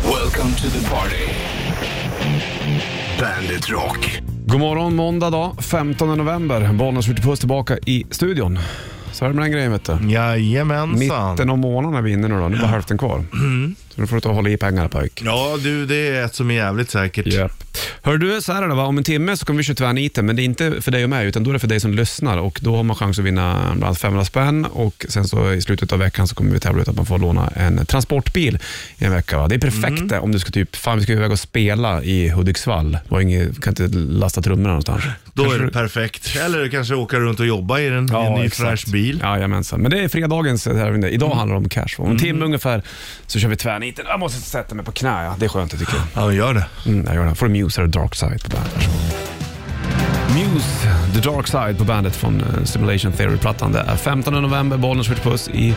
Welcome to the party. Bandit Rock. God morgon, måndag dag, 15 november. Bollnäs Puss tillbaka i studion. Så är det med den grejen vet du. Jajamensan. Mitten av månaden är vi inne nu då. Nu är bara hälften kvar. Så nu får du ta och hålla i pengarna pojk. Mm. Ja du, det är ett som är jävligt säkert. Yep. Hör du, så här är det va. Om en timme så kommer vi köra tvärniten, men det är inte för dig och mig, utan då är det för dig som lyssnar. Och Då har man chans att vinna bland annat 500 spänn och sen så i slutet av veckan så kommer vi tävla ut att man får låna en transportbil i en vecka. Va? Det är perfekt det Mm. om du ska typ, fan vi ska iväg och spela i Hudiksvall. Du har inget, kan inte lasta trummorna någonstans. Då Kanske är det du- perfekt. Eller kanske åka runt och jobba i den i en ny exakt. fräsch bil. Jajamensan, men det är fredagens tävling. Idag handlar det om cash. Om en timme ungefär så kör vi tvärniten. Jag måste sätta mig på knä, ja. det är skönt jag tycker jag. Ja, gör det. Mm, jag gör det. får du Muse här, Dark Side på bandet. Muse, The Dark Side på bandet från eh, Simulation Theory-plattan. Det är 15 november, Bollnäs skjuter puss i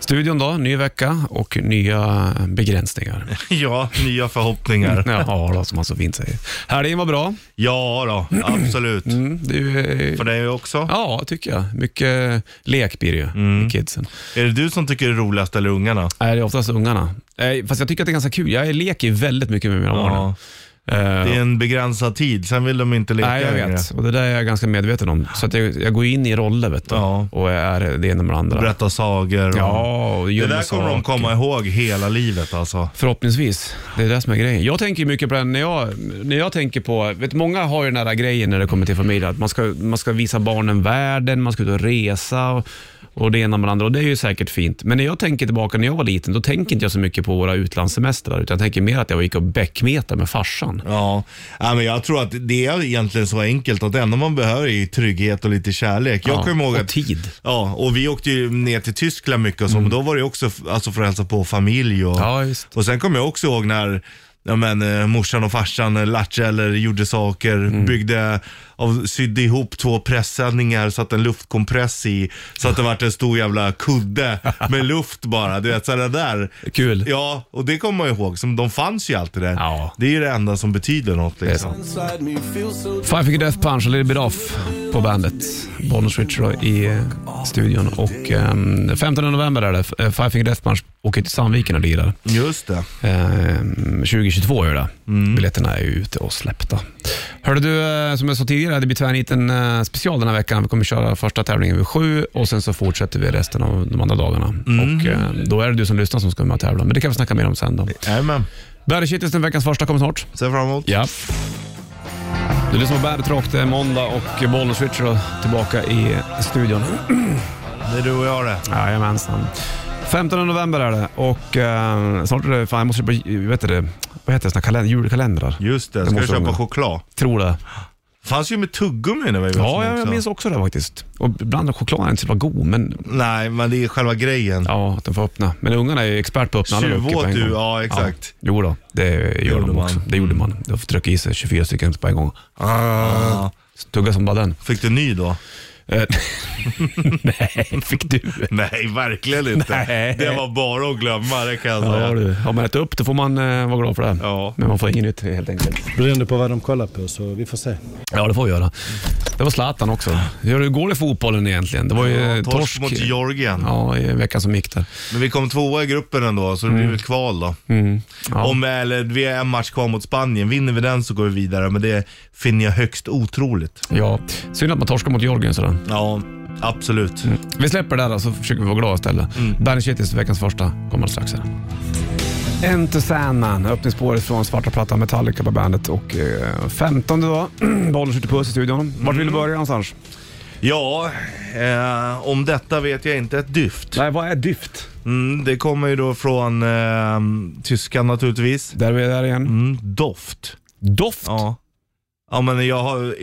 studion då. Ny vecka och nya eh, begränsningar. Ja, nya förhoppningar. Ja, då, som man så fint säger. Helgen var bra. Ja då, absolut. Mm, det är ju, eh, För dig också. ja, tycker jag. Mycket lek blir det ju med kidsen. Är det du som tycker det är roligast eller ungarna? Nej, det är oftast ungarna. Eh, Fast jag tycker att det är ganska kul. Jag leker väldigt mycket med mina barn. Eh, Det är en begränsad tid, sen vill de inte leka Nej, jag längre. vet. Och det där är jag ganska medveten om. Så att jag, jag går in i roller vet du. Ja. och är det ena med det andra. Berätta sagor. och- Ja, och Det gömmer där kommer de saker. komma ihåg hela livet alltså. Förhoppningsvis. Det är det som är grejen. Jag tänker ju mycket på den när jag, när jag tänker på, vet många har ju den här grejen när det kommer till familjen, att man ska, man ska visa barnen världen, man ska ut och resa och, och det ena med det andra. Och det är ju säkert fint. Men när jag tänker tillbaka när jag var liten, då tänker inte jag så mycket på våra utlandssemestrar, utan jag tänker mer att jag gick och bäckmetade med farsan. Ja. ja, men jag tror att det är egentligen så enkelt att det enda man behöver är ju trygghet och lite kärlek. Jag Ja, kommer ihåg och att, tid. Ja, och vi åkte ju ner till Tyskland mycket och så, men då var det ju också f- alltså, för att hälsa på familj och, Mm. Ja, just. och sen kommer jag också ihåg när Ja, men, eh, morsan och farsan eh, lattjo eller gjorde saker, Mm. byggde, av, sydde ihop två pressändningar, satte en luftkompress i, så att det vart en stor jävla kudde med luft bara. Du vet, så det där. Kul. Ja, och det kommer man ihåg. Som, de fanns ju alltid där. Ja. Det är ju det enda som betyder något. Liksom. Inside me feels so Five Finger Death Punch och Little Bit Off på bandet. Bonus Richard i eh, studion. Och ehm, 15 november är det. F- eh, Five Finger Death Punch åker till Sandviken och lirar. Just det. Ehm, 2022 gör det. Biljetterna är ju ute och släppta. Hörde du, eh, som jag sa tidigare, det blir tvärniten eh, special den här veckan. Vi kommer köra första tävlingen vid sju och sen så fortsätter vi resten av de andra dagarna. Och eh, Då är det du som lyssnar som ska vara med och tävla, men det kan vi snacka mer om sen då. Jajamän. Barry Kittelsen, veckans första, kommer snart. Ser fram emot. Ja. Du lyssnar på Bandet Rock, det är måndag och Bollnäs Richard tillbaka i studion. Det är du och jag det. Jajamensan. 15 november är det och eh, snart är det, fan jag måste köpa, vet du det, vad heter det, såna kalend- julkalendrar? Just det. Det Ska du måste köpa de- choklad? Tror det. fanns ju med tuggummi när vi var Ja, små jag, jag också. minns också det faktiskt. Och ibland är chokladen inte så jävla god, men Nej, men det är själva grejen. ja, att de får öppna. Men ungarna är ju expert på att öppna alla Tjuv luckor på åt en du, gång. ja, exakt. Ja. Jo då, det gör Gjorde de också. man. Mm. Det gjorde man. De tryckte i sig 24 stycken på en gång. Ah. Tugga som bara den. Fick du ny då? Eh, Nej, fick du? Nej, verkligen inte. Nej. Det var bara att glömma, det kan jag Ja, säga. du. Har man ätit upp det får man eh, vara glad för det. Ja. Men man får inget nytt helt enkelt. Beroende på vad de kollar på, så vi får se. Ja, det får vi göra. Det var Zlatan också. Hur går det i fotbollen egentligen? Det var ju Ja, eh, torsk, torsk. mot Georgien. Ja, i veckan som gick där. Men vi kom tvåa i gruppen ändå, så det blir väl kval då. Ja. Om, eller, vi har en match kvar mot Spanien. Vinner vi den så går vi vidare, men det finner jag högst otroligt. Ja, synd att man torskar mot Georgien sådär. Ja, absolut. Vi släpper det där då, så försöker vi vara glada istället. Mm. Bandet Kittis, veckans första, kommer strax här. Enter Sandman, öppningsspåret från svarta plattan Metallica på bandet. Och eh, 15 då, bollen skjuter puss i studion. Vart Mm. vill du börja någonstans? Ja, eh, om detta vet jag inte ett dyft. Nej, vad är dyft? Mm, det kommer ju då från eh, tyskan naturligtvis. Där är vi där igen. Mm, doft. Doft? Ja. Ja men jag har,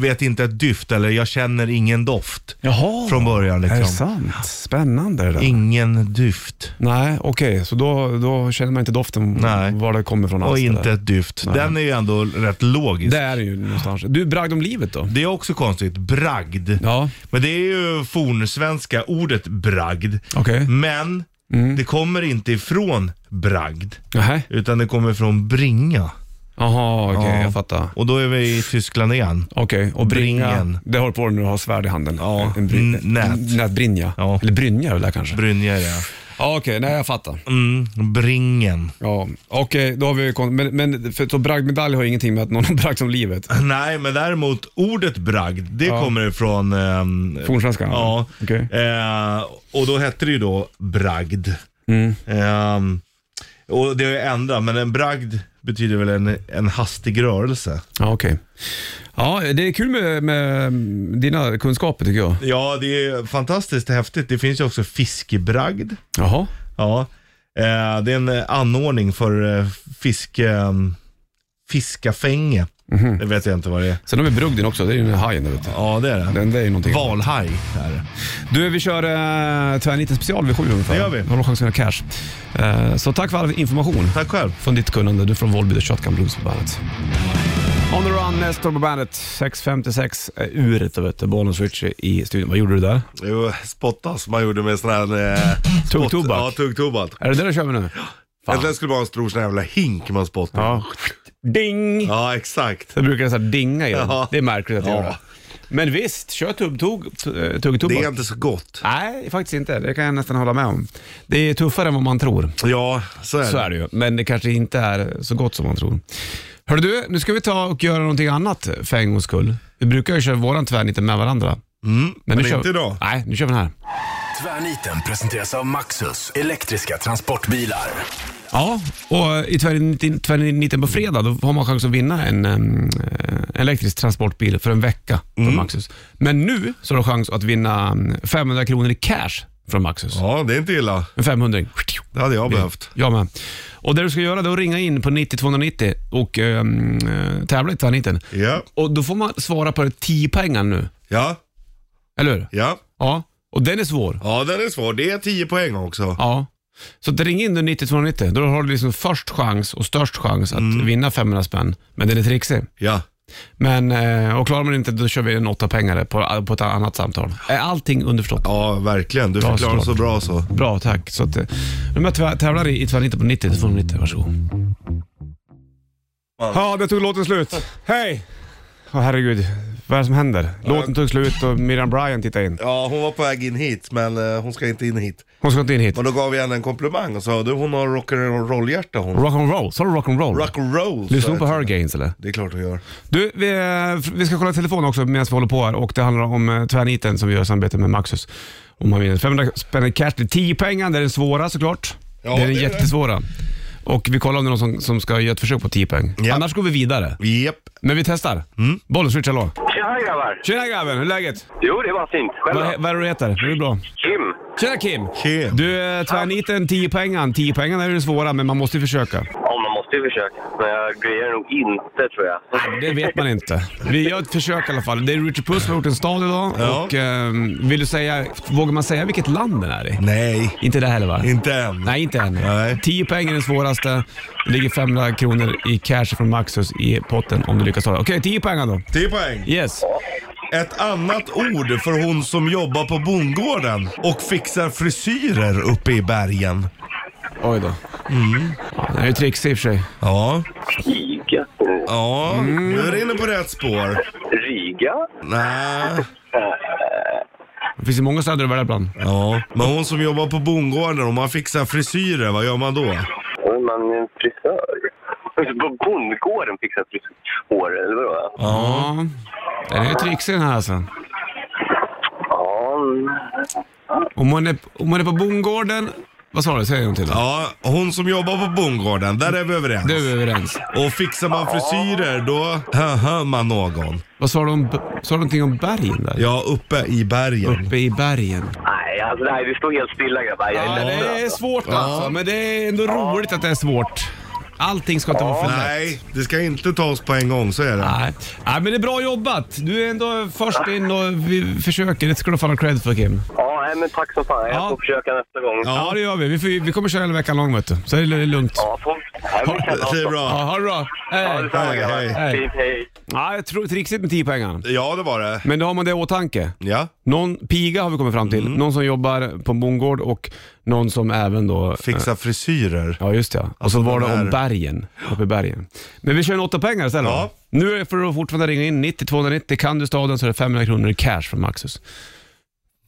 vet inte ett dyft eller jag känner ingen doft Jaha. från början Är det liksom. sant? Spännande det där. Ingen dyft Nej, okej. Så då, då känner man inte doften Nej. var det kommer från. och alls det inte där. ett dyft. Nej. Den är ju ändå rätt logisk. Det Det, är det ju någonstans. Du, bragd om livet då? är också konstigt, bragd. Ja, Men det är ju fornsvenska ordet bragd. okej. Mm. Men Mm. det kommer inte ifrån bragd Nähä. utan det kommer från bringa. Jaha, okej. Ja. Jag fattar. Och då är vi i Tyskland igen. Okej, och bringa, Bringen. det håller på när du har svärd i handen. Ja, en brin- n- nät. Nätbrinja. Ja. Eller brynja är det där kanske. Brynja är det. Ja, okej. Nej, jag fattar. Mm, bringen. Ja, okej. då har vi ju kon- Men, men för, så bragdmedalj har ingenting med att någon har bragts om livet? Nej, men däremot ordet bragd, det Ja. kommer från... ehm, Fornsvenskan? Ja. Okej. Eh, och då hette det ju då bragd. Mm. Ehm, och det har ju ändrat, men en bragd betyder väl en, en hastig rörelse. Ja, okej. Ja, det är kul med, med mm, dina kunskaper tycker jag. Ja, det är fantastiskt häftigt. Det finns ju också fiskebragd. Jaha. Ja, eh, det är en eh, anordning för eh, fiske, eh, fiskafänge. Mhm. Det vet jag inte vad det är. Sen har vi brugden också, det är ju den här hajen där vet du. Ja, det är det. Den där är ju någonting. Valhaj är det. Du, vi kör eh, tvärniten special vid sju ungefär. Det gör vi. Då Har du chansen att vinna cash. Eh, så tack för all information. Tack själv. Från ditt kunnande, du från Volby, The Shotgun Blues på bandet. On the run, Nestor på bandet. 6.56 är uret, vet du. Bonus Richie i studion. Vad gjorde du där? Jo, spotta som man gjorde med sån här... Eh, spott- Tuggtobak. Ja, tuggtobak. Är det det du kör med nu? Fan. Egentligen skulle det vara en stor sån här jävla hink man spottar. Ja. Ding! Ja, exakt. Det brukar så här dinga i den. Ja. Det är märkligt att jag Ja. gör det. Men visst, kör tuggtog- t- tuggtobak. Det är inte så gott. Nej, faktiskt inte. Det kan jag nästan hålla med om. Det är tuffare än vad man tror. Ja, så är det. Så är det ju. Men det kanske inte är så gott som man tror. Hör du, nu ska vi ta och göra någonting annat för en gångs skull. Vi brukar ju köra våran tvärnit med varandra. Mm. Men, nu kör... inte idag. Nej, nu kör vi den här. Tvärniten presenteras av Maxus elektriska transportbilar. Ja, och i tvärniten, tvärniten på fredag då har man chans att vinna en em, eh, elektrisk transportbil för en vecka från Maxus. Men nu så har du chans att vinna em, 500 kronor i cash från Maxus. Ja, det är inte illa. En 500 Det hade jag behövt. Jag med. Och det du ska göra det är att ringa in på 90-290 och um, tävla i tvärniten. Ja, Och då får man svara på 10 pengar nu. ja, Eller hur? ja. Ja. Och den är svår. Ja, den är svår. Det är 10 poäng också. Ja. Så att ring in nu 90-290. Då har du liksom först chans och störst chans att vinna 500 spänn. Men den är trixig. Ja. Men, eh, och klarar man inte då kör vi en åtta pengar på, på ett annat samtal. Är allting underförstått? Ja, verkligen. Du förklarar såklart. så bra så. Bra, tack. Så att, eh, om jag tvär- tävlar i, i tvärnitten på 90, då får du 90. Varsågod. Ja, det tog låten slut. Hej! Åh herregud, vad är det som händer? Låten tog slut och Miriam Bryant tittade in. Ja, hon var på väg in hit, men eh, hon ska inte in hit. Hon ska inte in hit. Men då gav vi henne en komplimang och sa du hon har rock'n'roll-hjärta hon. Rock'n'roll, sa du rock'n'roll? Rock'n'roll. Lyssnar sa hon på jag till Hurricanes eller? henne. Det är klart hon gör. Du, vi, eh, vi ska kolla telefonen också medan vi håller på här och det handlar om eh, tvärniten som vi gör i samarbete med Maxus. Om man vinner 500 spänn i cash. Det är 10 pengar, det är den svåra såklart. Ja, det är den det är det. jättesvåra. Och vi kollar om det är någon som, som ska göra ett försök på 10 poäng. Ja. Annars går vi vidare. Jep. Men vi testar. Mm. Bollen switch, hallå. Tjena grabbar! Tjena grabben, hur är läget? Jo, det var fint. Själv Vad då? he- vad är det du heter? Är det bra? Kim? Tjena Kim! Kim. Du, eh, tvärniten 10 poängen. 10 poängen är det svåra, men man måste ju försöka. Ja, man måste ju försöka. Men jag grejer nog inte, tror jag. Det vet man inte. Vi gör ett försök i alla fall. Det är Richard Puss som har gjort en stad idag. Ja. Och, eh, vill du säga, vågar man säga vilket land den är i? Nej, Inte det heller va? inte än. Nej, inte än. Nej. 10 poäng är den svåraste. Det ligger 500 kronor i cash från Maxus i potten om du lyckas ta det. Okej, 10 poäng då. 10 poäng. Yes. Ett annat ord för hon som jobbar på bondgården och fixar frisyrer uppe i bergen. Oj då. Ja, det här är ju trixig i och för sig. Ja, Riga? ja, nu är du inne på rätt spår. Riga? Nej, Det finns ju många städer att välja bland. ja. Men hon som jobbar på bondgården, om man fixar frisyrer, vad gör man då? Då är man en frisör. På bondgården fixar frisör hår, eller vadå? Ja. Den är ju trixig den här alltså. Ja, mm. Om man är, om man är på bondgården... Vad sa du? Säg en till. då. Ja, hon som jobbar på bondgården, där är vi överens. Det är vi överens. Och fixar man frisyrer, då hör man någon. Vad sa du om... b- Sa du någonting om bergen där? Ja, uppe i bergen. Uppe i bergen. nej, alltså, nej, vi står helt stilla grabbar. Jag är Ja, ledsen. det är alltså. svårt alltså, men det är ändå roligt att det är svårt. Allting ska inte vara för lätt. Nej, det ska inte tas på en gång, så är det. Nej. Nej, men det är bra jobbat. Du är ändå först in och vi försöker. Det ska du fan ha cred för Kim. Ja, nej, men tack som fan. Jag Ja. får försöka nästa gång. Ja, det gör vi. Vi, får, vi kommer köra hela veckan lång vet du. Så är det lugnt. Ja, Ja, får... Nej, men kalas. Det är bra. ha det bra. Ja, Hej. detsamma Hej, grabbar. hej. Hej. Fint, hej. Ja, jag tror trixigt med 10 pengar. Ja, det var det. Men då har man det i åtanke. Ja. Någon piga har vi kommit fram till. Någon som jobbar på en bondgård och någon som även då... Fixa frisyrer. Ja, just det. Och Alltså, så var det de om här- bergen, uppe i bergen. Men vi kör en åtta pengar istället. Ja. Nu är det för att fortfarande ringa in 90 290. Kan du staden så är det 500 kronor i cash från Maxus.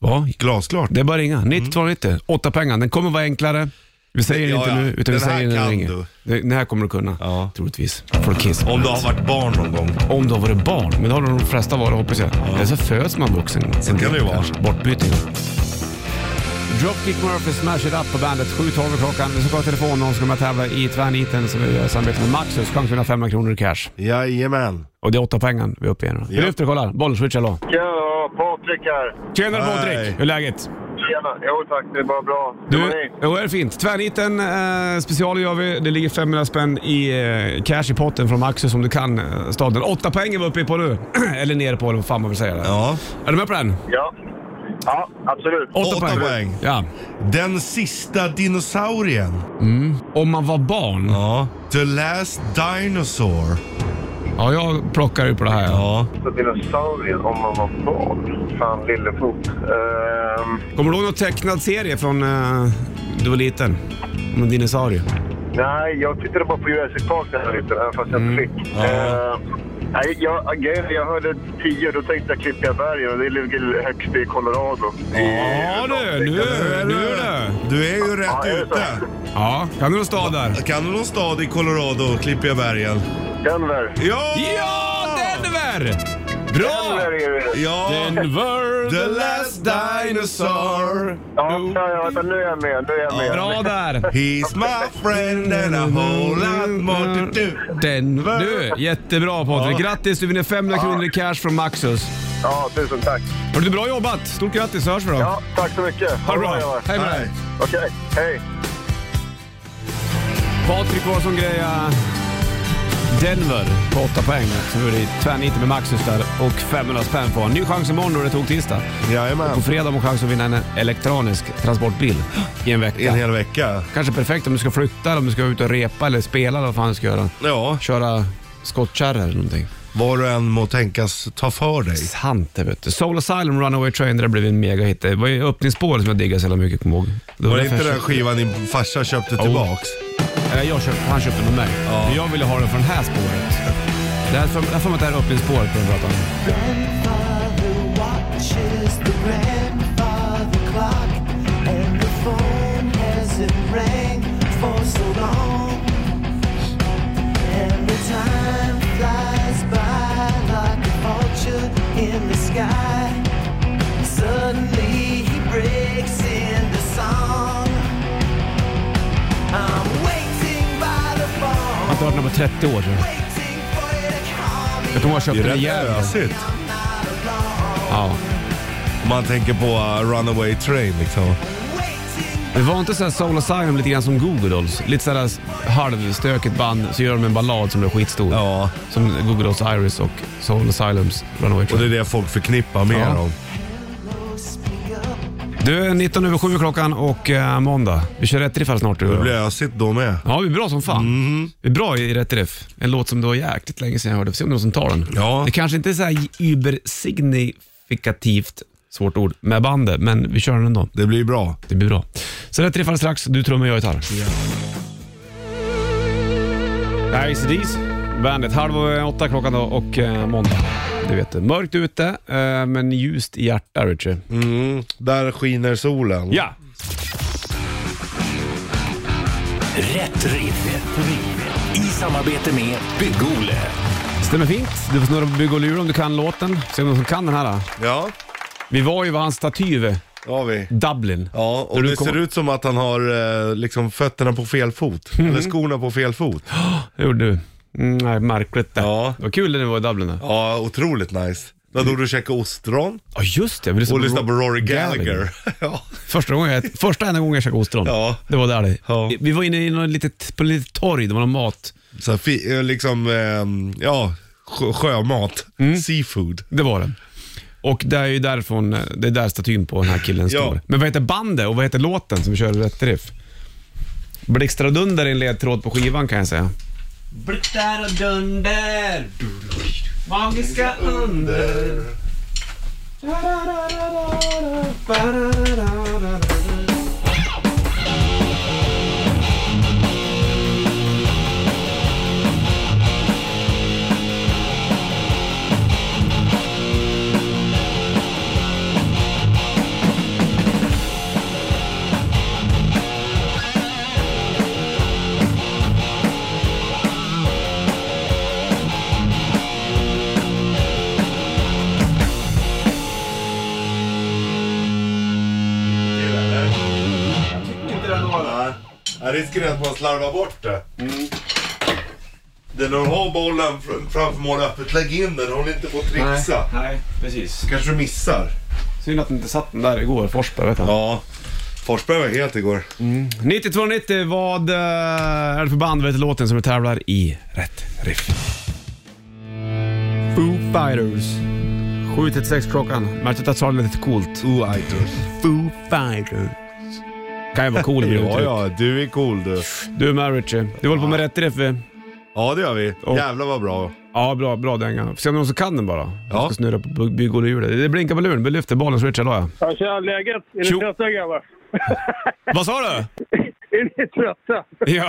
Ja, Glasklart. det är bara att ringa. 9290, åtta pengar. Den kommer vara enklare. Vi säger Ja, inte ja. nu, utan vi Den här säger när den kan ringer. du. Det- Den här kommer du kunna, Ja. troligtvis. Från Kiss. Om du har varit barn någon gång. Om du har varit barn, men det har de flesta varit hoppas jag. Eller så föds man vuxen. Så kan det ju vara. Bortbytning. Dropkick Murphys Smash It Up på bandet. 7.12 är klockan. Vi ska ha telefon någon som kommer att tävla i tvärniten som vi gör i samarbete med Maxus. Chans att vinna 500 kronor i cash. Jajamän. Och det är åtta pengar vi är uppe i nu. Vi Ja. lyfter och kollar. Bollswitch, hallå. Ja, Patrik här. Tjenare Hej. Patrik! Hur är läget? Tjena. Jo tack, det är bara bra. Hur mår Du, ni? jo, det är fint. Tvärniten eh, special gör vi. Det ligger 500 spänn i eh, cash i potten från Maxus om du kan eh, staden. Åtta poäng är vi uppe på nu. eller nere på, eller vad fan man vill säga. Ja. Är du med på den? Ja. ja, absolut. Åtta, Åtta poäng. poäng. Ja. Den sista dinosaurien. Om man var barn. Ja, Ja. The last dinosaur. jag plockar ju på det här. Ja. Ja. För dinosaurien om man var barn. Fan, lillefot. Ehm, Kommer du ihåg någon tecknad serie från eh, du var liten? Om en dinosaurie. nej, jag tittade bara på Jurassic Park den här vintern, även fast jag Mm. inte fick. Ja. Ehm, Nej, jag, grejen är, jag hörde tio, då tänkte jag Klippiga bergen och det ligger högst i Colorado. Ja du, nu, nu du. Du är ju Ja, rätt jag är ute. Ja, kan du någon stad där? Kan du någon stad i Colorado, Klippiga bergen? Denver. Ja! Ja, Denver! Bra! Denver är det. Ja! Denver, The last dinosaur. Ja, ja, ja, vänta, nu är jag med. Nu är jag med. Bra där! He's my friend and a whole lot more to do. Denver. Du, jättebra Patrik. Grattis, du vinner 500 kronor i cash från Maxus. Ja, tusen tack. Har du bra jobbat? Stort grattis, så hörs vi då. Ja, tack så mycket. Ha det grabbar. bra. Hej med dig. Hej. Okej, hej. Patrik var som greja Denver på 8 poäng. Så nu är det tvärnit med Maxus där och 500 spänn på en ny chans imorgon då det tog tisdag. På Jajamän. fredag har man chans att vinna en elektronisk transportbil i en I en vecka. hel vecka. Kanske perfekt om du ska flytta, om du ska ut och repa eller spela eller vad fan du ska göra. Ja, Köra skottkärror eller någonting. vad du än må tänkas ta för dig. Sant det vet du. Soul Asylum Runaway Train, det där blev en megahit. Det var ju öppningsspåret som jag diggade så jävla mycket, kommer jag ihåg. Det Var det Oh. därför inte jag den skivan din farsa köpte tillbaks? köpte- Nej, jag köpte, han köpte den av mig. Ja. Men jag ville ha den från det här spåret. Det här får- Jag har för mig att det här är öppningsspåret på den plattan. Grandfather watches the grandfather clock, and the phone hasn't rang for so long. And the time flies by like a vulture in the sky. Suddenly he breaks into song. I'm waiting by the Jag har inte phone, hört den på 30 år tror jag. waiting for you to call me. Jag kommer ihåg att jag Det är köpte den i rätt Gävle. ösigt. I'm not alone. Ja. Om man tänker på uh, Runaway Train liksom. Waiting Det var inte såhär Soul Asylum lite grann som Google Dolls? Lite sådär halvstökigt band, så gör de en ballad som blir skitstor. Ja, Som Google Dolls Iris och Soul Asylums Runaway och Train. det är det folk förknippar med Ja. dem. speak up. Du, 19 över 7 klockan och eh, måndag. Vi kör rätt riff här snart du och Det jag. blir ösigt då med. Ja, vi är bra som fan. Vi är bra i rätt riff. En låt som det var jäkligt länge sedan jag hörde. Får se om det är någon som tar den. Ja. Det kanske inte är så här übersignifikativt, svårt ord, med bandet, men vi kör den ändå. Det blir bra. Det blir bra. Så rätt riff alldeles strax. Du trummar, jag gitarr. Det här är ACDs, bandet. Halv åtta klockan då och eh, måndag. Det vet du. Mörkt ute, eh, men ljust i hjärtat, Richie. Mm, där skiner solen. Ja! Rätt riff. I samarbete med Bygg-Ole. Stämmer fint. Du får snurra på bygg och lur om du kan låten. Se om någon som kan den här. Då. Ja, Vi var ju vid hans staty det har vi. Dublin. Ja, och När du det kom- ser ut som att han har eh, liksom fötterna på fel fot. Eller skorna på fel fot. Det gjorde du. Mm, nej, märkligt det. Ja. Vad kul det när vi var i Dublin. då. Ja, otroligt nice. Där då du käkade ostron Ja, just det. Vi och lyssnade lyssnade på Rory Gallagher. Gallagher. ja. Första gången jag, första enda gången jag käkade ostron. Ja. Det var där det. Ja. Vi var inne i något litet, på ett litet torg, det var någon mat. Så här, fi- eh, liksom, ehm, ja, sjö- sjömat. Seafood. Det var det. Och det är ju därifrån, det är där statyn på den här killen Ja. står. Men vad heter bandet och vad heter låten som vi kör i rätt riff? Blixtar och dunder är en ledtråd på skivan kan jag säga. Blixtar och dunder. Magiska under. Risken är att man slarvar bort det. Det är när du har bollen fr- framför mål öppet, lägg in den. Håll inte på att trixa. Nej, precis. kanske du missar. Synd att den inte satt den där igår, Forsberg. Vet jag. Ja. Forsberg var helt igår. 9290, vad eh, är det för band vet du, låten som vi tävlar i rätt riff? Foo Fighters. 7.36 klockan. Märkte att jag lite coolt. Oajters. Foo Fighters. Kan ju vara cool med Ja, uttryck. ja, du är cool du. Du är med Richie. Du håller på med rätt riff. eh? Ja, det gör vi. Och- Jävlar vad bra. Ja, bra, bra dänga. Får se om det är någon som kan den bara. Jag Ja. ska snurra på by- byggolehjulet. Det blinkar på luren. Vi lyfter bollen så Richard la jag. Ja, tjena, läget? Är Tjo. ni trötta grabbar? Vad sa du? är ni trötta? Ja,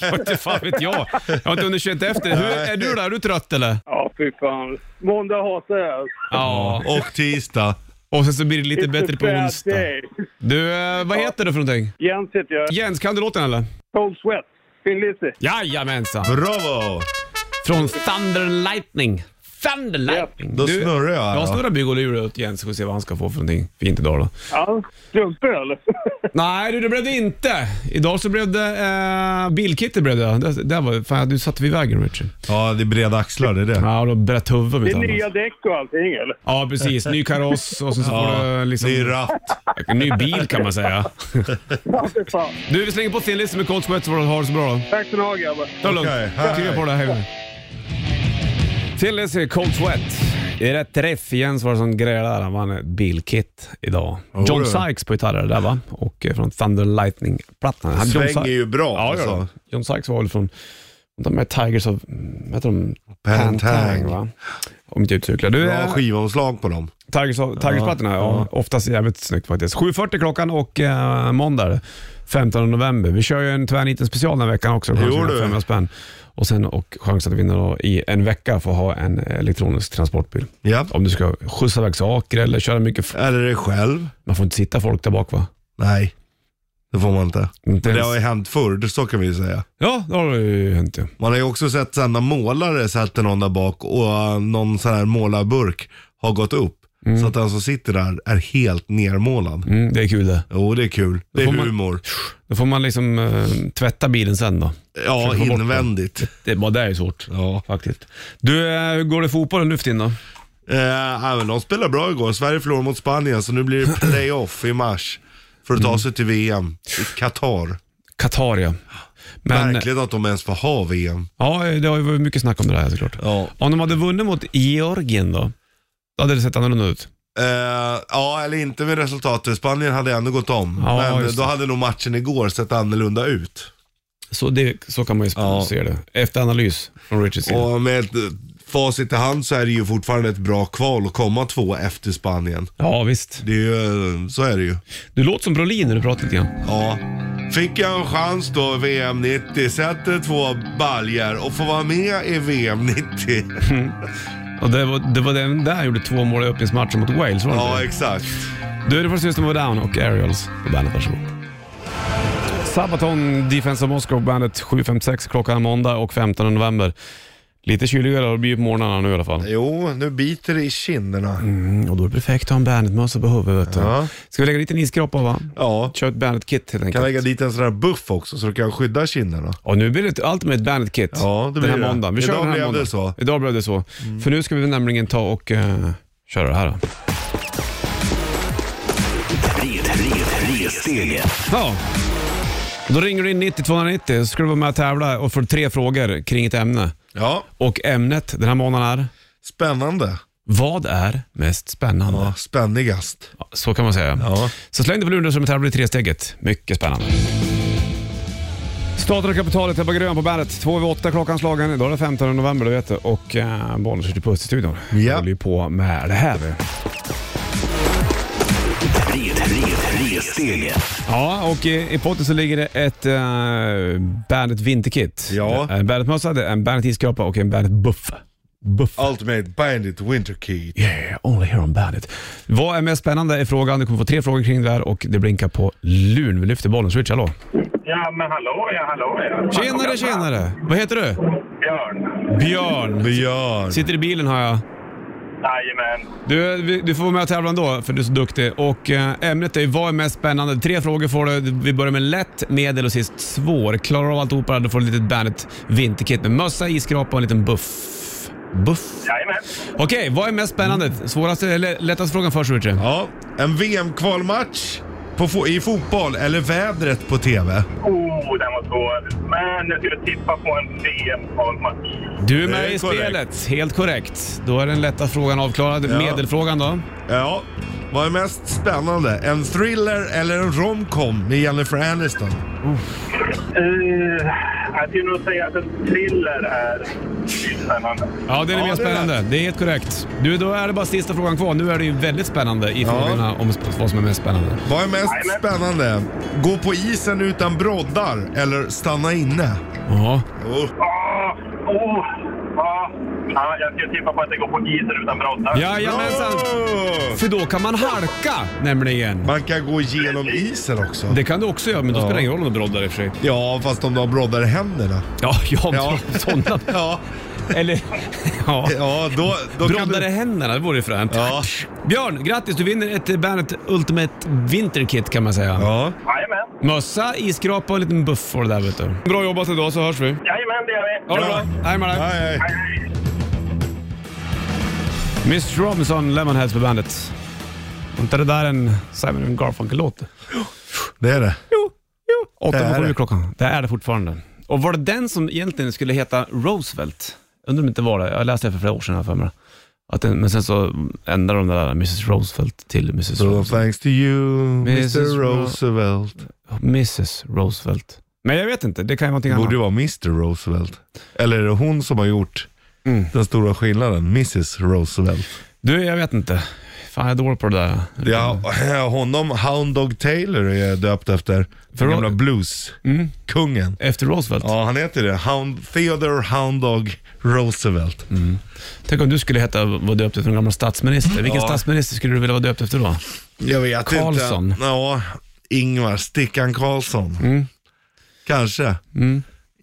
jag inte fan vet jag. Jag har inte hunnit känt efter. Hur, är du där? Är du trött eller? Ja, fy fan. Måndag hatar jag. Ja. Och tisdag. Och sen så blir det lite It's bättre a på bad onsdag. day. Du, eh, vad heter du för någonting? Jens heter jag. Jens, kan du låten eller? Cold Sweat. Finlissi. Jajamensan! Bravo! Från Thunder and Lightning. Thunder Lightning! Då snurrar jag här, Jag då. snurrar bygg och lurar åt Jens och se vad han ska få för någonting fint idag då. Ja, strumpöl. Nej du, det blev det inte. Idag så blev det eh, bilkittet blev det. det, det var, fan, du satte vid vägen Richard. Ja, det är breda axlar, det är det. Ja, och då bröt huvudet Det mitt är annars. nya däck och allting, eller? Ja, precis. Ny kaross och sen så får du liksom... Ny ratt. Ny bil kan man säga. Ja, fy fan. Du, vi slänger på Thin Lizzy med Cold Sweat så får du ha det så bra då. Tack ska ni ha, grabbar. Ta det lugnt. Okej, hej. Skriv på det här. hej. Thin Lizzy, Cold Sweat. Det är rätt träff. Jens var det som grejade där. Han vann ett bilkit idag. John du. Sykes på gitarr det där va? Och eh, från Thunder and Lightning-plattan. Han- John Sväng Alltså. är Sy- ju bra. Ja, gör det. John Sykes var väl från, de med Tigers of, vad heter de? Pantang. va? Om inte jag utcyklar. Du, Bra eh, skivomslag på dem. Tigers, Tigersplattorna, ja. Oftast jävligt snyggt faktiskt. 7.40 klockan och eh, måndag 15 november. Vi kör ju en tvärniten special den här veckan också. Jo, Kanske du. 500 spänn. Och sen och chans att vinna då i en vecka för att ha en elektronisk transportbil. Ja. Om du ska skjutsa iväg saker eller köra mycket. f- Eller dig själv. Man får inte sitta folk där bak va? Nej, det får man inte. Inte Men det ens. har ju hänt förr, det- så kan vi ju säga. Ja, det har ju hänt ju. Man har ju också sett sen när målare sätter någon där bak och eh, någon sån här målarburk har gått upp. Så att den som sitter där är helt nermålad. Mm, det är kul det. Jo, det är kul. Det är får man- humor. Då får man liksom eh, tvätta bilen sen då. Ja, Försöker få bort invändigt. Det, bara det är ju svårt. Ja. Faktiskt. Du, eh, hur går det i fotbollen nu för tiden då? Eh, ja, men de spelade bra igår. Sverige förlorade mot Spanien, så nu blir det playoff i mars. För att Mm. ta sig till VM i Qatar. Qatar ja. Men- Märkligt att de ens får ha VM. Ja, det har ju varit mycket snack om det där såklart. Ja. Om de hade vunnit mot Georgien då? Då hade det sett annorlunda ut. Eh, ja, eller inte med resultatet. Spanien hade ändå gått om. Ja, men just då det. hade nog matchen igår sett annorlunda ut. Så, det, så kan man ju Ja. se det. Efter analys från Richards sida. Och med ett eh, facit i hand så är det ju fortfarande ett bra kval att komma två efter Spanien. Ja, visst. Det är ju, eh, så är det ju. Du låter som Brolin när du pratar lite grann. Ja. Fick jag en chans då VM 90, sätter två baljer och får vara med i VM 90. Och det var, det var den där gjorde två mål i öppningsmatchen mot Wales, var det Ja, inte? exakt. Du, det var System of a Down och Aerials på bandet. Varsågod. Sabaton, Defense of Moscow, bandet 7.56 klockan måndag och 15 november. Lite kyligare har det blivit på morgnarna nu i alla fall. Jo, nu biter det i kinderna. Mm, och då är det perfekt att ha en bandetmössa på huvudet. vet du. Ja. Ska vi lägga dit en iskrapa va? Ja. Kör ett bandet-kit helt Kan enkelt. lägga dit en sån här buff också så du kan skydda kinderna. Och nu blir det allt med ett bandet-kit Ja, det blir den här det. måndagen. Vi kör Idag den här blev det måndagen. så. Mm. Idag blev det så. För nu ska vi nämligen ta och eh, köra det här då. Red, red, ressteget. Ja. Då ringer du in 90 290 så ska du vara med och tävla och få tre frågor kring ett ämne. Ja. Och ämnet den här månaden är Spännande. Vad är mest spännande? Ja, Spännigast. Ja, Så kan man säga. Ja. Så släng dig på luren som en tävling i tresteget. Mycket spännande. Staten och kapitalet, Ebba Grön på bandet. Två över åtta klockan slagen. Idag är det 15 november, du vet det. Och eh, Bonniers ute på Österstudion. Vi Ja. håller ju på med det här. Red, red, ressteget. Ja, och i, i potten så ligger det ett eh, Bandet Vinterkit. Ja. Det är En Bandet-mössa, det är en Bandet-iskrapa och en Bandet-buff. Buff. Ultimate Bandit Winter Kid. Yeah, only here on Bandet. Vad är mest spännande i frågan? Du kommer få tre frågor kring det där och det blinkar på luren. Vi lyfter bollen. Switch, hallå. Ja, men hallå ja, hallå ja. Tjenare, tjenare! Vad heter du? Björn. Björn. Björn. Sitter i bilen har jag. Jajamän. Du, vi- du får vara med och tävla ändå, för du är så duktig. Och eh, ämnet är vad är mest spännande? Tre frågor får du. Vi börjar med lätt, medel och sist svår. Klarar du av alltihopa då får du ett litet Bandet vinterkit med mössa, isskrapa och en liten buff. Buff? Jajamän. Okej, vad är mest spännande? Svåraste eller lättaste frågan först, Richard. Ja, en VM-kvalmatch på fo- i fotboll eller vädret på TV? Oh, den var svår. Men jag skulle tippa på en VM-kvalmatch. Du är Det med är i korrekt. spelet, helt korrekt. Då är den lätta frågan avklarad. Ja. Medelfrågan då? Ja, vad är mest spännande? En thriller eller en romcom med Jennifer Aniston? Uh, jag skulle nog säga att en thriller är lite spännande. Ja, den är Ja, mer det är spännande. Det är helt korrekt. Du, då är det bara sista frågan kvar. Nu är det ju väldigt spännande i frågorna om sp- vad som är mest spännande. Vad är mest Jajamän. spännande? Gå på isen utan broddar eller stanna inne? Ja. Oh. Ah, Åh, oh, åh, ja. Ja, jag skulle tippa på att det går på isen utan broddar. Jajamensan! Oh. För då kan man halka nämligen. Man kan gå igenom isen också. Det kan du också göra, men då Ja. spelar det ingen roll om du broddar i och för sig. Ja, fast om du har broddar i händerna. Ja, ja, Ja. sådana. Ja, Eller, ja. ja då, då kan Broddar i du... händerna, det vore ju fränt. Ja. Björn, grattis! Du vinner ett Bandet Ultimate Winter Kit kan man säga. Ja. Jajamän. Mössa, isskrapa och en liten buff får du där vet du. Bra jobbat idag så hörs vi. Jajamän, det gör vi. Ha det bra! Hej med dig! Nej, nej. Mr Robinson, Lemonheads på bandet. Var inte det där en Simon and Garfunkel-låt? Det är det. Jo, jo. Åtta Det är över sju det. klockan. Det är det fortfarande. Och var det den som egentligen skulle heta Roosevelt? Undrar om det inte var det. Jag läste det för flera år sedan här för mig. Att den, men sen så ändrade de det där Mrs Roosevelt till Mrs So Roosevelt. thanks to you, Mrs. Mr Roosevelt. Mrs Roosevelt. Men jag vet inte, det kan ju vara någonting Det borde ju annat. vara Mr Roosevelt. Eller är det hon som har gjort den stora skillnaden? Mrs Roosevelt. Du, jag vet inte. Fan, jag är dålig på det där. Ja, honom, Hound Dog Taylor, är döpt efter. Den gamla blueskungen. Efter Roosevelt. Ja, han heter det. Hound, Theodore Hound Dog Roosevelt. Tänk om du skulle heta, vara döpt efter en gammal statsminister. Vilken Ja. statsminister skulle du vilja vara döpt efter då? Jag vet Karlsson. Mm. inte. Ja, Ingvar, Stickan Karlsson. Kanske.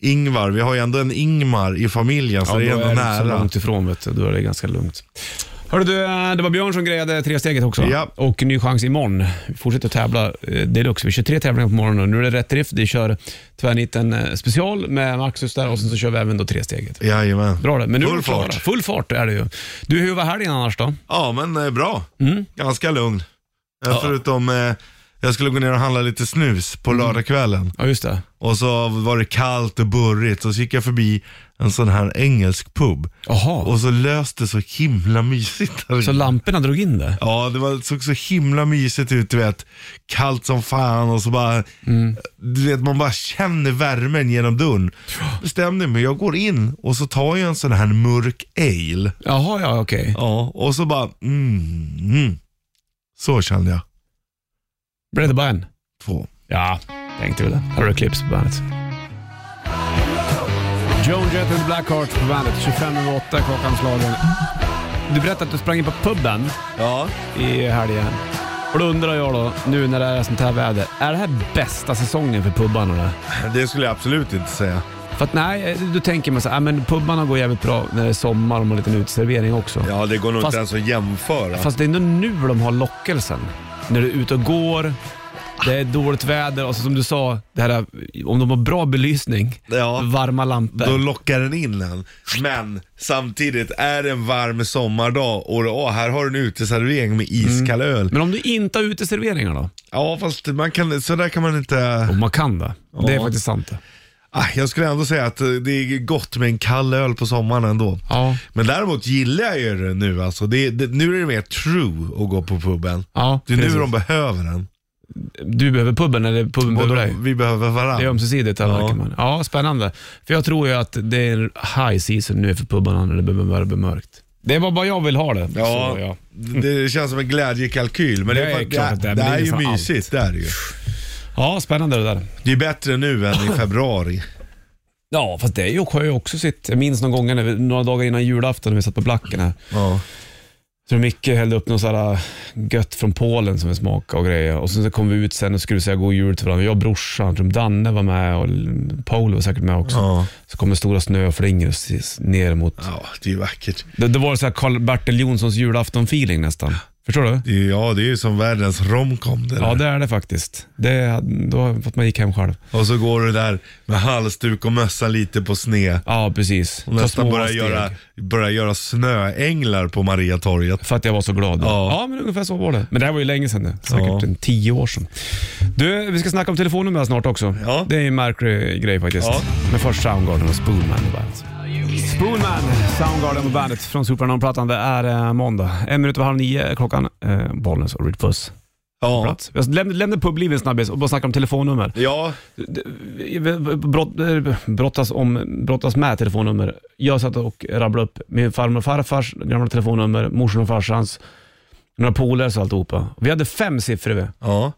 Ingvar, vi har ju ändå en Ingmar i familjen, så det är då är ändå det inte så nära. långt ifrån vet du. Då är det ganska lugnt. Hörru du, eh, det var Björn som grejade tresteget också. Ja. Och ny chans imorgon. Vi fortsätter att tävla eh, deluxe. Vi kör tre tävlingar på morgonen och nu är det rätt riff. Vi kör tvärniten eh, special med Maxus där och sen så kör vi även då tresteget. Jajamän. Bra det. Men nu är Full vi klara. fart. Full fart är det ju. Du, hur var helgen annars då? Ja, men eh, bra. Mm. Ganska lugn. Eh, Förutom, eh, jag skulle gå ner och handla lite snus på Mm. lördagskvällen. Ja, just det. Och så var det kallt och burrigt och så gick jag förbi en sån här engelsk pub. Jaha. Och så löste det så himla mysigt där Så inne. lamporna drog in det? Ja, det var, såg så himla mysigt ut, du vet. Kallt som fan och så bara, du vet man bara känner värmen genom dörren. Bestämde mig, jag går in och så tar jag en sån här mörk ale. Jaha, ja okej. Ja, och så bara, mm, mm. Så kände jag. Bread the band. Två. Ja, tänkte väl det. Här har du Clips på bandet. Joan Jett and the Blackhearts på bandet. 25 över 8 klockan slagen. Du berättade att du sprang in på puben Ja. i helgen. Och då undrar jag då, nu när det är sånt här väder, är det här bästa säsongen för pubarna då? Det skulle jag absolut inte säga. För att nej, då tänker man så här, "Ah, men pubarna går jävligt bra när det är sommar och man har en liten uteservering också. Ja, det går nog Fast- inte ens att jämföra. Fast det är ändå nu de har lockelsen. När du är ute och går, det är dåligt väder och så som du sa, det här, om de har bra belysning, Ja. varma lampor. Då lockar den in en. Men samtidigt, är det en varm sommardag och ja, här har du en uteservering med iskall öl. Men om du inte har uteserveringar då? Ja, fast man kan, så där kan man inte... Och man kan det. Det är Ja. faktiskt sant det. Ah, jag skulle ändå säga att eh, det är gott med en kall öl på sommaren ändå. Ja. Men däremot gillar jag ju det nu alltså. Det, det, nu är det mer true att gå på puben. Ja, Det är nu precis. de behöver den. Du behöver puben eller puben behöver dig. Vi behöver Det är varandra. ömsesidigt. Ja. Ja. Man. ja, spännande. För jag tror ju att det är high season nu för pubarna när det börjar bli mörkt. Det var bara jag vill ha det. Ja, Så, ja. det känns som en glädjekalkyl. Men det, Det är är, klart att det, det är, det, men det är är ju nästan allt. mysigt. Det är det ju. ja, spännande det där. Det är bättre nu än i februari. Ja, fast det är ju- har ju också sitt... Jag minns någon gång, när vi, några dagar innan julafton, när vi satt på Blacken här. Ja. tror Micke hällde upp något sådär äh, gött från Polen som vi smakade och grejer. Och sen så kom vi ut sen och skulle säga god jul till varandra. Jag och brorsan, jag tror Danne var med och Paul var säkert med också. Ja. Så kom det stora snöflingor s- ner mot... Ja, det är ju vackert. Det, det var så här Karl-Bertil Jonssons julafton-feeling nästan. Förstår du? Det är, ja, det är ju som världens romcom det Ja, där. det är det faktiskt. Det, då har jag fått man gick hem själv. Och så går du där med halsduk och mössa lite på sned. Ja, precis. Och Ta nästan små börjar steg. göra, börjar göra snöänglar på Mariatorget. För att jag var så glad. då. Ja. ja, men ungefär så var det. Men det här var ju länge sedan nu. Säkert Ja. en tio år sedan. Du, vi ska snacka om telefonnummer snart också. Ja. Det är en märklig grej faktiskt. Ja. Men först Soundgarden och Spoonman på bandet. Spoonman, Soundgarden på bandet från Supernon-plattan. Det är eh, måndag. En minut över halv nio är klockan. Eh, Bollnäs och Red Puss. Ja. Plats. Jag lämnar lämna publiven snabbis och bara snacka om telefonnummer. Ja, Brott, eh, brottas, om, brottas med telefonnummer. Jag satt och rabblade upp min farmor och farfars gamla telefonnummer, morsan och farsans, några polares och alltihopa. Vi hade fem siffror. Vi. ja.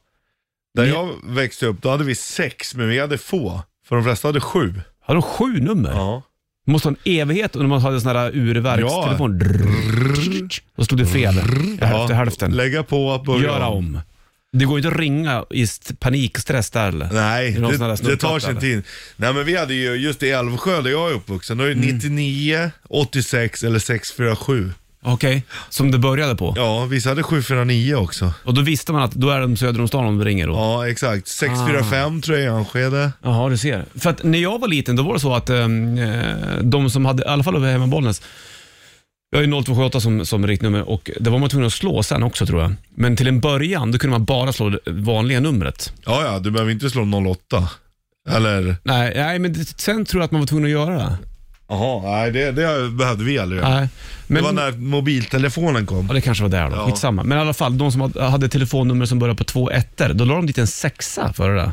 Där Ni- jag växte upp, då hade vi sex, men vi hade få. För de flesta hade sju. Hade de sju nummer? Ja. Det måste ha en evighet och man hade sån här urverkstelefon. Ja. Då stod det fel. Hälften, hälften. Lägga på att börja Göra om. Det går inte att ringa i st- panik, stress där eller? Nej, Det är någon sån det, här det, tar snuttplatta, sin eller? tid. Nej men vi hade ju, just i Älvsjö där jag är uppvuxen, då är det Mm. 99, 86 eller 647. Okej, som det började på. Ja, vissa hade 749 också. Och då visste man att då är de söder om stan om du ringer då. Ja, Ah. exakt. 645 tror jag i Enskede. Jaha, du ser. För att när jag var liten, då var det så att eh, de som hade, i alla fall över hemma i Bollnäs, jag har ju 0278 som, som riktnummer och det var man tvungen att slå sen också tror jag. Men till en början, då kunde man bara slå det vanliga numret. Ja, ja, du behöver inte slå 08. Eller? Nej, nej men det- sen tror jag att man var tvungen att göra det. Jaha, nej det, det behövde vi aldrig göra. Nej, men, Det var när mobiltelefonen kom. Ja, det kanske var där då. Ja. Skitsamma. Men i alla fall, de som hade- hade telefonnummer som började på två ettor, då la de dit en sexa för det där.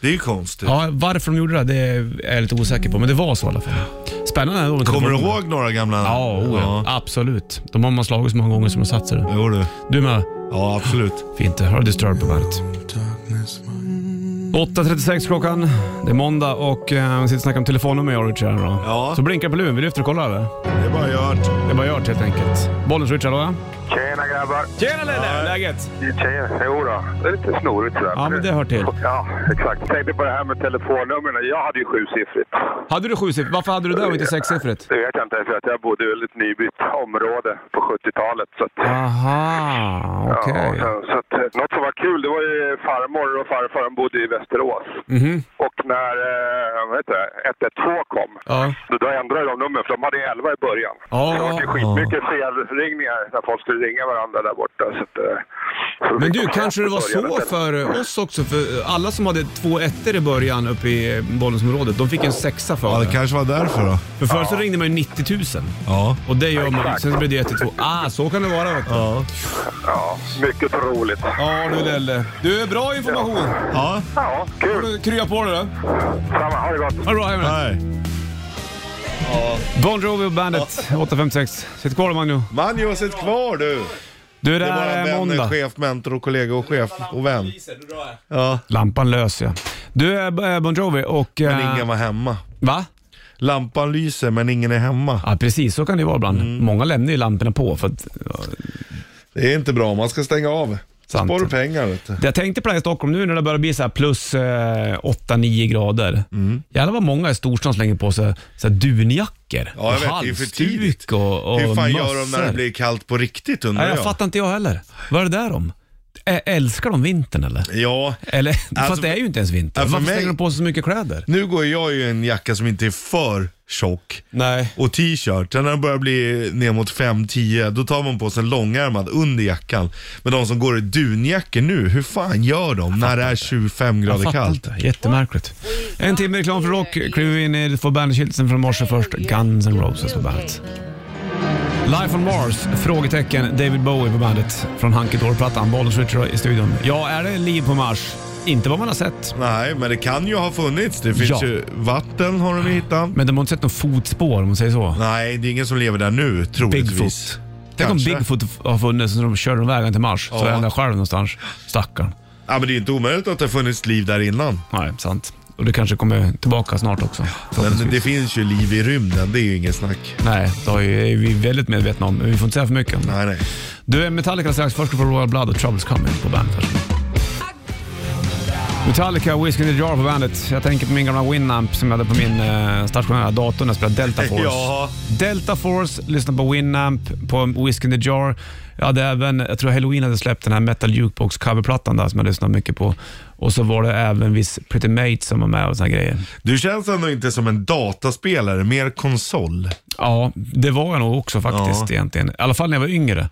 Det är ju konstigt. Ja, varför de gjorde det, det är jag lite osäker på, men det var så i alla fall. Spännande ändå med Kommer du telefonnummer. ihåg några gamla? Ja, oh, ja. absolut. De har man slagit så många gånger som de satt sig. Jo du. Du med. Ja, absolut. Fint. Hör Disturbed på bandet. 8.36 klockan. Det är måndag och eh, vi sitter och snackar om telefonnummer i Richard. här då. Ja. Så blinkar på luren. Vill du efter och kolla eller? Det är bara gjort. Det är bara gjort helt enkelt. Bollens Richard då? ja? Tjena grabbar! Tjena Lelle! Läget? Tjena, jodå. Det är lite snorigt sådär. Ja, men det hör till. Ja, exakt. Tänkte på det här med telefonnumren. Jag hade ju sjusiffrigt. Hade du sjusiffrigt? Varför hade du det och inte sexsiffrigt? Det vet jag inte, för att jag bodde i ett nybytt område på 70-talet. Så att, Aha, okej. Ja, och sen, så att, eh, något som var kul, det var ju farmor och farfar, de bodde i Västerås. Mhm. Och när eh, vad heter det, 112 kom, Ja. då, då ändrade de numren, för de hade 11 i början. Ja, så det var ja, ju skitmycket felringningar när folk skulle ringa varandra där borta. Så att, eh, så Men fick du, de kanske det var börja så med det. för oss också? För alla som hade två ettor i början uppe i Bollensområdet, de fick en sexa för Ja, det kanske var därför då. För förr så ringde man ju 90 000. Ja. Och det gör man. Exakt. Sen så blir det 112. Ah, så kan det vara. Vet du. Ja. Ja, mycket roligt. du Lelle. Du, bra information. Ja, Ja, kul. Du, Krya på dig då. Ha Samma, ha det gott. det bra, hej med dig. nej. Bon Jovi och Bandet 856. Sitt kvar Magnus. Man, jag har sett kvar du. Du, det, Det är bara är vän, måndag. chef, mentor och kollega och chef och vän. Ja, Lampan lös ja. Du, eh, Bon Jovi och... eh, men ingen var hemma. Va? Lampan lyser men ingen är hemma. Ja, precis. Så kan det vara ibland. Mm. Många lämnar ju lamporna på för att... Ja, Det är inte bra, man ska stänga av. Sant. Spar du pengar vet du. Jag tänkte på det här i Stockholm nu när det börjar bli så här plus eh, 8-9 grader. Mm. Jävlar vad många i storstan slänger på sig så här dunjackor Ja, jag och vet, det är för tidigt. halsduk och, och Hur fan gör de mössor. när det blir kallt på riktigt undrar Nej, jag fattar inte jag heller. Vad är det där om? Ä- Älskar de vintern eller? Ja, eller fast det är ju inte ens vinter. alltså, Varför mig- slänger de på sig så mycket kläder? nu går jag ju i en jacka som inte är för tjock. Nej. Och t-shirt. Sen när det börjar bli ner mot 5-10, då tar man på sig en långärmad under jackan. Men de som går i dunjackor nu, hur fan gör de när det är 25 Jag grader fattar kallt? inte. Jättemärkligt. En timme reklam för rock kliver vi in i. Du får bandet-kiltsen från morse först. Guns N' Roses på bandet. Life on Mars? Frågetecken. David Bowie på bandet från Hunky Dory-plattan. Bollens Richard i studion. Ja, är det liv på Mars? Inte vad man har sett. Nej, men det kan ju ha funnits. Det finns Ja. ju vatten har de hittat. Men de har inte sett något fotspår om man säger så. Nej, det är ingen som lever där nu troligtvis. Bigfoot. Tänk om Kanske. Bigfoot har funnits när de körde vägen till Mars. Så Ja. är han där själv någonstans. Stackarn. Ja, men det är inte omöjligt att det har funnits liv där innan. Nej, sant. Och det kanske kommer tillbaka snart också. Men det finns ju liv i rymden, det är ju inget snack. Nej, det är vi väldigt medvetna om. Men vi får inte säga för mycket om det. Nej, nej. Du, Metallica strax. Först ska du få Royal Blood och Troubles Coming på bandet. Metallica, Whiskey in the Jar på bandet. Jag tänker på min gamla Winamp som jag hade på min eh, stationära dator när jag spelade Delta Force. Ja. Delta Force, lyssnade på Winamp, på Whiskey in the Jar. Jag hade även, jag tror Halloween hade släppt den här Metal Jukebox coverplattan där som jag lyssnade mycket på. Och så var det även viss Pretty Mate som var med och såna här grejer. Du känns ändå inte som en dataspelare, mer konsol. Ja, det var jag nog också faktiskt Ja. egentligen. I alla fall när jag var yngre.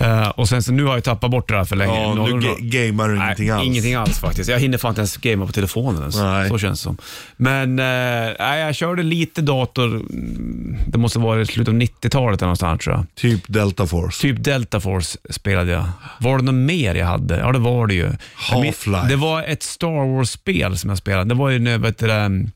Eh, och sen så nu har jag tappat bort det där för länge. Ja, Nu- nu nu- ga- gamar du Nej, ingenting alls. Ingenting alls faktiskt. Jag hinner fan inte ens gamea på telefonen ens. Nej. Så känns det som. Men eh, nej, jag körde lite dator. mm, Det måste vara i slutet av 90-talet eller någonstans tror jag. Typ Delta Force. Typ Delta Force spelade jag. Var det något mer jag hade? Ja, det var det ju. Jag min- Half-Life. Det var ett Star Wars-spel som jag spelade. Det var ju när, vet du, um,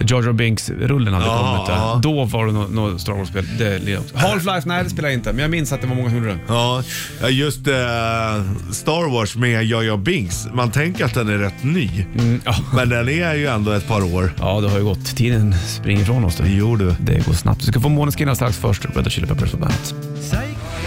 George Binks-rullen hade Ja, kommit. Där. ja. Då var det något nå Star Wars-spel. Det lirade jag också. Half-Life, nej det spelade jag inte, men jag minns att det var många som gjorde det. Ja, ja, just eh, Star Wars med Jaja Binks. Man tänker att den är rätt ny. Mm, ja. Men den är ju ändå ett par år. Ja, det har ju gått. Tiden springer ifrån oss. Du. Jo du. Det går snabbt. Du ska få Måneskin alldeles strax först. Red Hot Chili Peppers på bandet.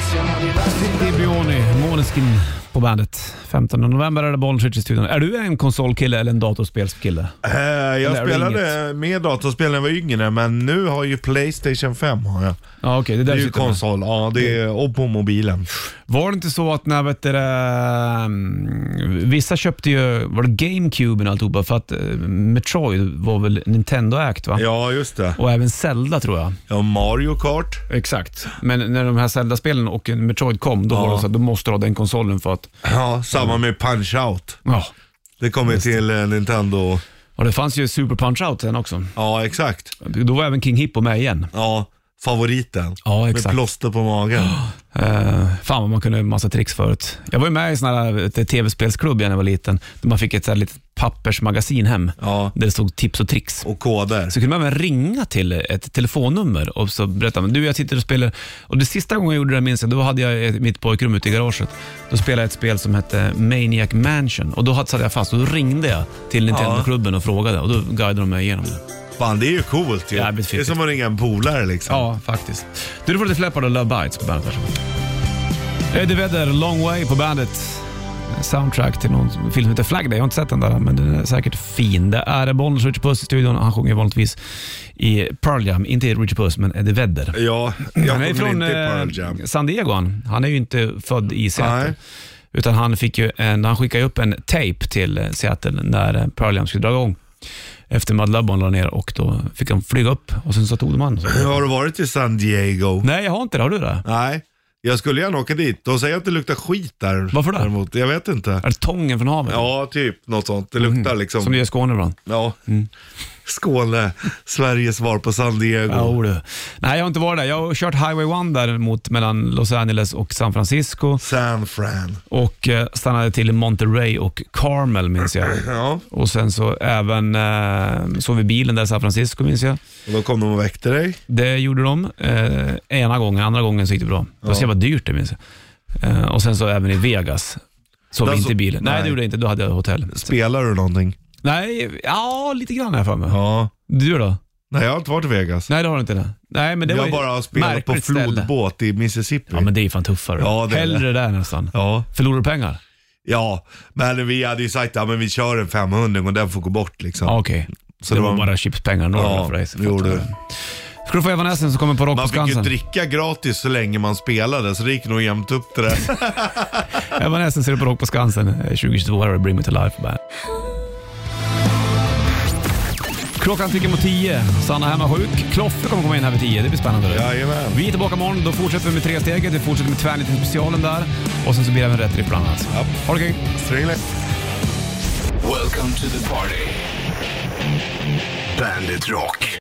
City Bioni, Måneskin på bandet. 15 november är det Bollnäs i studion. Är du en konsolkille eller en datorspelskille? Eh, jag Eller spelade med datorspel när jag var yngre, men nu har ju Playstation 5. Har jag. Ja, okej. det, Det där är ju sitter Mm. man. konsol, ja, det är, och på mobilen. Var det inte så att när, vet du, det, vissa köpte ju, var det GameCube och alltihopa, för att eh, Metroid var väl Nintendo-ägt va? Ja, just det. Och även Zelda tror jag. Ja, Mario Kart. Exakt. Men när de här Zelda-spelen och Metroid kom, då var det så att du måste ha den konsolen för att... Ja, Mm. samma med Punch Out. Ja. Det kommer till eh, Nintendo. Och det fanns ju Super Punch-Out sen också. Ja, exakt. Då var även King Hippo med igen. Ja, favoriten. Ja, Med exakt. plåster på magen. Eh, fan vad man kunde en massa tricks förut. Jag var ju med i sån här eh, tv-spelsklubb när jag var liten. Där man fick ett så här litet pappersmagasin hem. Ja. Där det stod tips och tricks. Och koder. Så kunde man även ringa till ett telefonnummer och så berätta men du jag sitter och spelar. Och det sista gången jag gjorde det minns jag, då hade jag ett- mitt pojkrum ute i garaget. Då spelade jag ett spel som hette Maniac Mansion och då hade- satt jag fast och då ringde jag till Nintendo-klubben och frågade och då guidade de mig igenom det. Fan, det är ju coolt ju. Jävligt det är fittigt. som att ringa en polare liksom. Ja, faktiskt. Du, du får lite Flappard och Love Bites på bandet. Eh, Varsågod. Eddie Vedder, Long Way på bandet. Soundtrack till någon film som heter Flag Day. Jag har inte sett den där, men den är säkert fin. Det är Bollnäs Richard Puss i studion. Han sjunger vanligtvis i Pearl Jam. Inte i Richard Puss, men Eddie Vedder. Ja, jag Han är kommer från inte i Pearl eh, Jam. San Diego. Han. han är ju inte född i Seattle. Nej. Utan han, fick ju en, han skickade ju upp en tape till eh, Seattle när eh, Pearl Jam skulle dra igång. Efter Mud Lubban la ner och då fick han flyga upp och sen så tog de han. Har du varit i San Diego? Nej, jag har inte det. Har du det? Nej. Jag skulle gärna åka dit. De säger att det luktar skit där. Varför då? Däremot. Jag vet inte. Är det tången från havet? Ja, typ något sånt. Det luktar liksom. Som det Mm. gör i Skåne ibland. Ja. Skåne, Sveriges svar på San Diego. Jo, du. Nej, jag har inte varit där. Jag har kört Highway 1 däremot mellan Los Angeles och San Francisco San Fran. och eh, stannade till i Monterey och Carmel minns jag. Ja, Och sen så även eh, sov i bilen där i San Francisco minns jag. och då kom de och väckte dig. Det gjorde de eh, ena gången, andra gången så gick det bra. Det var så jävla dyrt det minns jag. Eh, och sen så även i Vegas. Sov Där inte i så- bilen. Nej, Alltså, nej. det gjorde jag inte. Då hade jag hotell. Spelar du någonting? Nej, ja lite grann här för mig. Ja. Du då? Nej, jag har inte varit i Vegas. Nej, det har du inte. Det. Nej, men det var jag ju bara har spelat på märkligt ställe. flodbåt i Mississippi. Ja, men det är ju fan tuffare. Ja, det är Hellre där nästan. ja. Förlorar du pengar? Ja, men vi hade ju sagt att ja, men vi kör en 500 och den får gå bort liksom. Ja, okej. Så det det var var- bara chipspengar norr Ja, för dig. det gjorde Fattar det. jag. Ska du få Evanescence som kommer på Rock på Man fick ju Skansen. dricka gratis så länge man spelade så det gick nog jämnt upp det där. Evanescence ser du på Rock på Skansen eh, 2022. Här är Bring Me To Life Band. Klockan tickar mot tio. Sanna hemma sjuk. Kloffe kommer komma in här vid tio. Det blir spännande. det. Jajamän. Vi är tillbaka imorgon. Då fortsätter vi med tre steget. Vi fortsätter med tvärnitten-specialen där. Och sen så blir det även rätt riff bland annat. Ja. Ha det kul. Stringling. Welcome to the party. Bandit Rock.